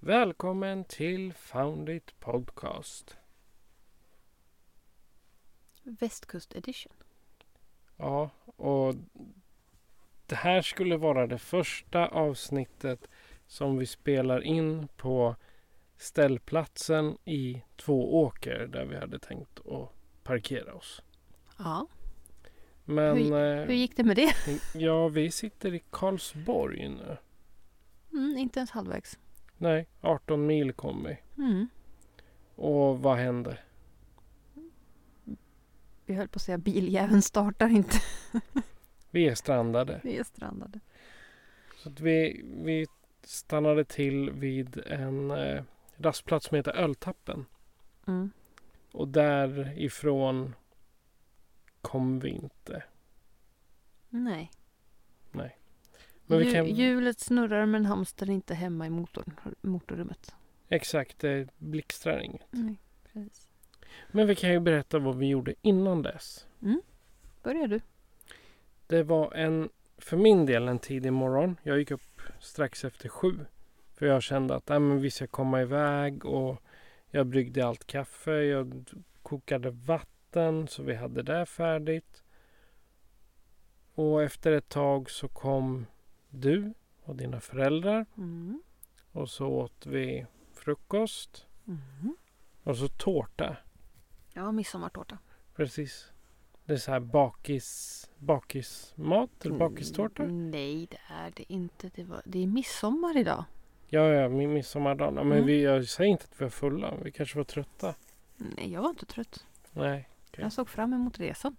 Välkommen till Found It Podcast. Västkust edition. Ja, och det här skulle vara det första avsnittet som vi spelar in på ställplatsen i Två åker där vi hade tänkt att parkera oss. Ja. Men hur, eh, hur gick det med det? ja, vi sitter i Karlsborg nu. Mm, inte ens halvvägs. Nej, 18 mil kom vi. Mm. Och vad hände? Vi höll på att säga biljäveln startar inte. Vi är strandade. Vi är strandade. Så att vi, vi stannade till vid en eh, rastplats som heter Öltappen. Mm. Och därifrån kom vi inte. Nej. Nej. Men vi Ju- kan- Hjulet snurrar men hamstern är inte hemma i motorn, motorrummet. Exakt, det blixtrar inget. Nej, precis. Men vi kan ju berätta vad vi gjorde innan dess. Börjar du? Det var en, för min del en tidig morgon. Jag gick upp strax efter sju. För jag kände att nej, men vi ska komma iväg och jag bryggde allt kaffe. Jag d- kokade vatten så vi hade det färdigt. Och efter ett tag så kom du och dina föräldrar Mm. och så åt vi frukost Mm. och så tårta. Ja, midsommartårta. Precis. Det är så här bakis, bakismat eller bakistårta. Mm, Nej, det är det inte. Det, var, det är midsommar idag. Ja, ja, mi- midsommardagen. Ja, Men Mm. vi, jag säger inte att vi var fulla. Vi kanske var trötta. Nej, jag var inte trött. Nej. Okej. Jag såg fram emot resan.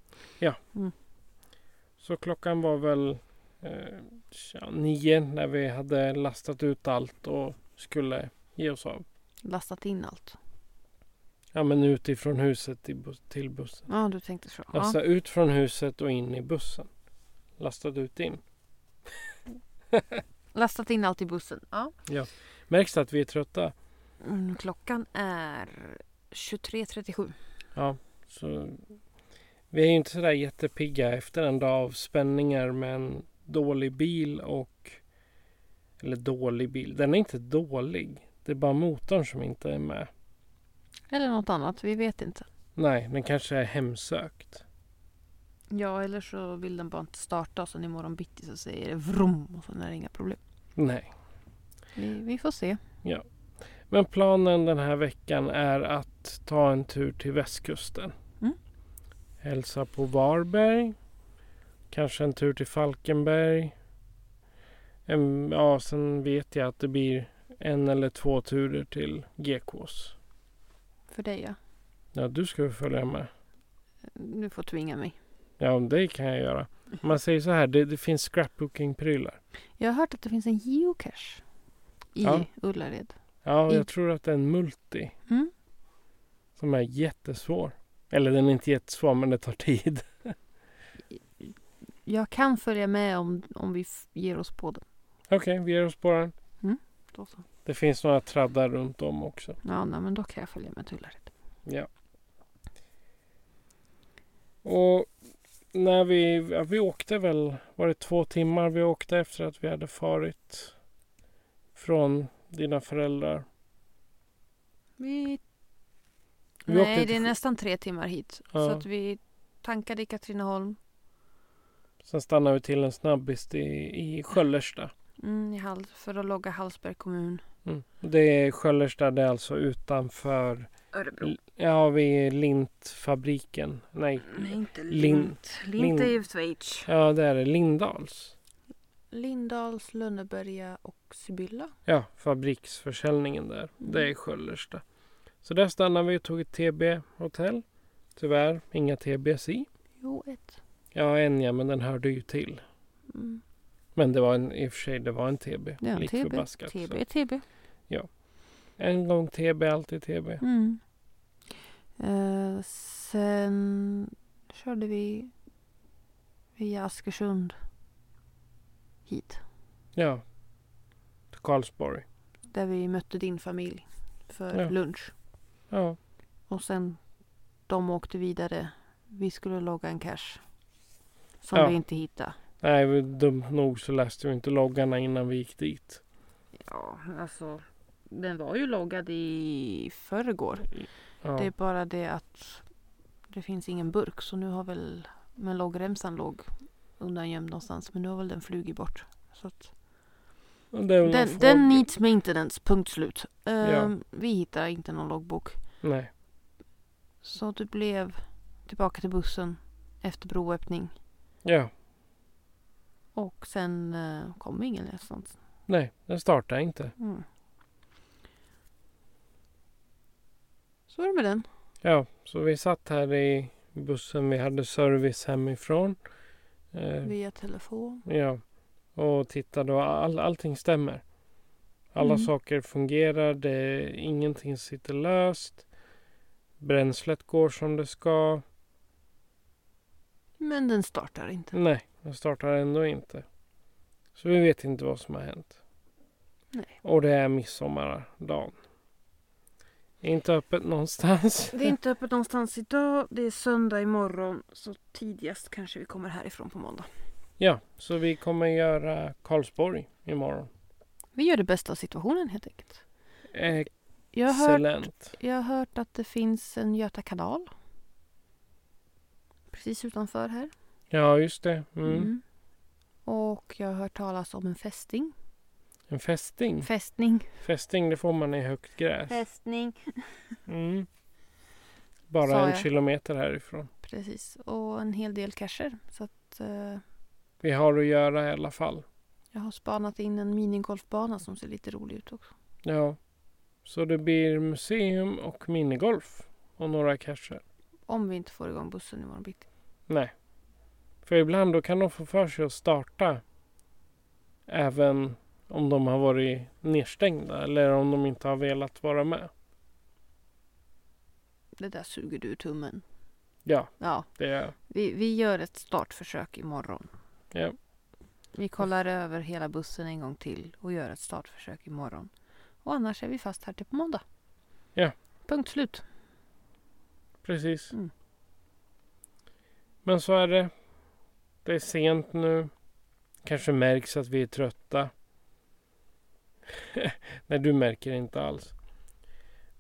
Så klockan var väl eh, tja, nio när vi hade lastat ut allt och skulle ge oss av. Lastat in allt. Ja, men ut ifrån huset till, bus- till bussen. Ja, du tänkte så. Ja. Lasta ut från huset och in i bussen. Lastat ut in. Lastat in allt i bussen. Ja. Märks det att vi är trötta? Mm, klockan är 23.37. Ja, så vi är ju inte sådär jättepigga efter en dag av spänningar med en dålig bil och... Eller dålig bil, den är inte dålig. Det är bara motorn som inte är med. Eller något annat, vi vet inte. Nej, den kanske är hemsökt. Ja, eller så vill den bara inte starta och sen imorgon bitti så säger det vrom och sen är det inga problem. Nej. Vi, vi får se. Men planen den här veckan är att ta en tur till västkusten. Mm. Hälsa på Varberg. Kanske en tur till Falkenberg. En, ja, sen vet jag att det blir en eller två turer till GKs. För dig ja. Ja, du ska väl följa med? Du får tvinga mig. Ja, det kan jag göra. Man säger så här, det, det finns scrapbooking-prylar. Jag har hört att det finns en geocache i Ja. Ullared. Ja, I- jag tror att det är en multi Mm. som är jättesvår. Eller den är inte jättesvår, men det tar tid. Jag kan följa med om, om vi f- ger oss på den. Okej, vi ger oss på den. Då så. Det finns några traddar runt om också. Ja, nej, men då kan jag följa med till Ullared. Ja. Och när vi, ja, vi åkte väl, var det två timmar vi åkte efter att vi hade farit från dina föräldrar? Vi... Vi åkte Nej, till det är Sk- nästan tre timmar hit. Så Ja. att vi tankade i Katrineholm. Sen stannar vi till en snabbis i, i Sköllersta. Mm, i Hall- för att logga Hallsberg kommun. Mm. Det är Sköllersta, det är alltså utanför... Örebro. L- Ja, vid Lintfabriken. Nej, Nej, inte Lin- Lint. Lint är ju Schweiz. ja det är det. Lindals. Lindals, Lönneberga och Sibylla. Ja, fabriksförsäljningen där. Det är Mm. Sköllersta. Så där stannade vi och tog ett TB-hotell. Tyvärr inga TBs i. Jo, ett. Ja, en ja, men den hörde ju till. Mm. Men det var en, i och för sig, det var en TB. Det är en Lik TB. förbaskat, TB så. är TB. En gång TB, alltid TB. Mm. Eh, sen körde vi via Askersund hit. Ja. Till Karlsborg. Där vi mötte din familj för Ja. lunch. Ja. Och sen de åkte vidare. Vi skulle logga en cash. Som Ja. vi inte hittade. Nej, vi- dumt nog så läste vi inte loggarna innan vi gick dit. Ja, alltså. Den var ju loggad i förrgår. Ja. Det är bara det att det finns ingen burk. Så nu har väl, men loggremsan låg undangömd någonstans. Men nu har väl den flugit bort. Så att, Och det är väl någon den, fråga. den needs maintenance, punkt slut. Ehm, Vi hittar inte någon loggbok. Nej. Så det blev tillbaka till bussen efter broöppning. Ja. Och sen eh, kom ingen någonstans. Nej, den startar inte. Mm. Så är det med den. Ja, så vi satt här i bussen. Vi hade service hemifrån. Eh, Via telefon. Ja. Och tittade och all, allting stämmer. Alla Mm. saker fungerar. Det, ingenting sitter löst. Bränslet går som det ska. Men den startar inte. Nej, den startar ändå inte. Så vi vet inte vad som har hänt. Nej. Och det är midsommardagen. Inte öppet någonstans. Det är inte öppet någonstans idag. Det är söndag imorgon. Så tidigast kanske vi kommer härifrån på måndag. Ja, så vi kommer göra Karlsborg imorgon. Vi gör det bästa av situationen helt enkelt. Jag har hört Excellent. Jag har hört att det finns en Göta kanal. Precis utanför här. Ja, just det. Mm. Mm. Och jag har hört talas om en fästing. En fästing. Fästning. Fästing, det får man i högt gräs. Fästning. Mm. Sa Bara en jag. kilometer härifrån. Precis. Och en hel del cacher. Så att eh, Vi har att göra i alla fall. jag har spanat in en minigolfbana som ser lite rolig ut också. Ja. Så det blir museum och minigolf. Och några cacher. Om vi inte får igång bussen imorgon bitti. Nej. För ibland då kan de få för sig att starta även om de har varit nedstängda eller om de inte har velat vara med. Det där suger du ur tummen. Ja, Ja, det är vi, vi gör ett startförsök imorgon. Ja. Vi kollar över hela bussen en gång till och gör ett startförsök imorgon. Och annars är vi fast här till på måndag. Ja. Punkt slut. precis. Mm. Men så är det. Det är sent nu. Kanske märks att vi är trötta. Nej, du märker inte alls.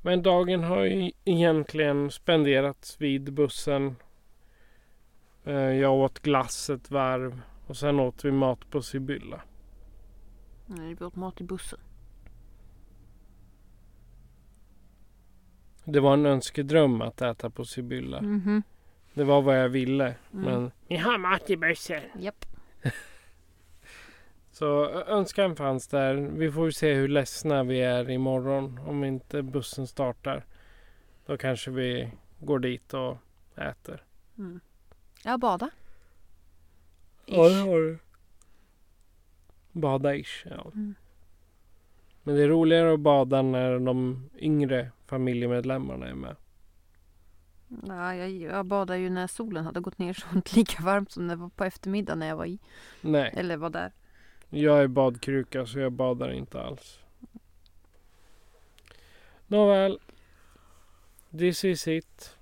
Men dagen har ju egentligen spenderats vid bussen. Eh, Jag åt glass ett varv och sen åt vi mat på Sibylla. Nu har vi åt mat i bussen. Det var en önskedröm att äta på Sibylla. Mhm. Det var vad jag ville. Mm. Men vi har mat i bussen. Japp. Så ö- önskan fanns där. Vi får ju se hur ledsna vi är imorgon om inte bussen startar. Då kanske vi går dit och äter. Mm. Ja, bada. Ish. har du. Bada ish, ja. Mm. Men det är roligare att bada när de yngre familjemedlemmarna är med. Nej, jag, jag badade ju när solen hade gått ner så det var inte lika varmt som det var på eftermiddagen när jag var i. Nej, Eller var där. jag är badkruka så jag badar inte alls. Nåväl. This is it.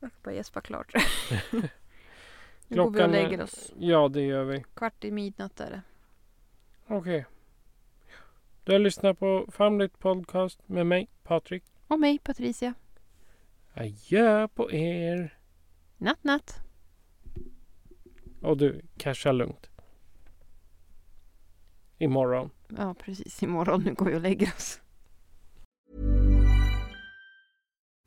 Jag ska bara gäspa klart. nu går vi och Klockan är- lägger oss. Ja, det gör vi. Kvart i midnatt är det. Okej. Du har lyssnat på Famligt Podcast med mig, Patrik. Och mig, Patricia. Adjö på er! Natt, natt. Och du, casha lugnt. Imorgon. Ja, precis. Imorgon. Nu går vi och lägger oss.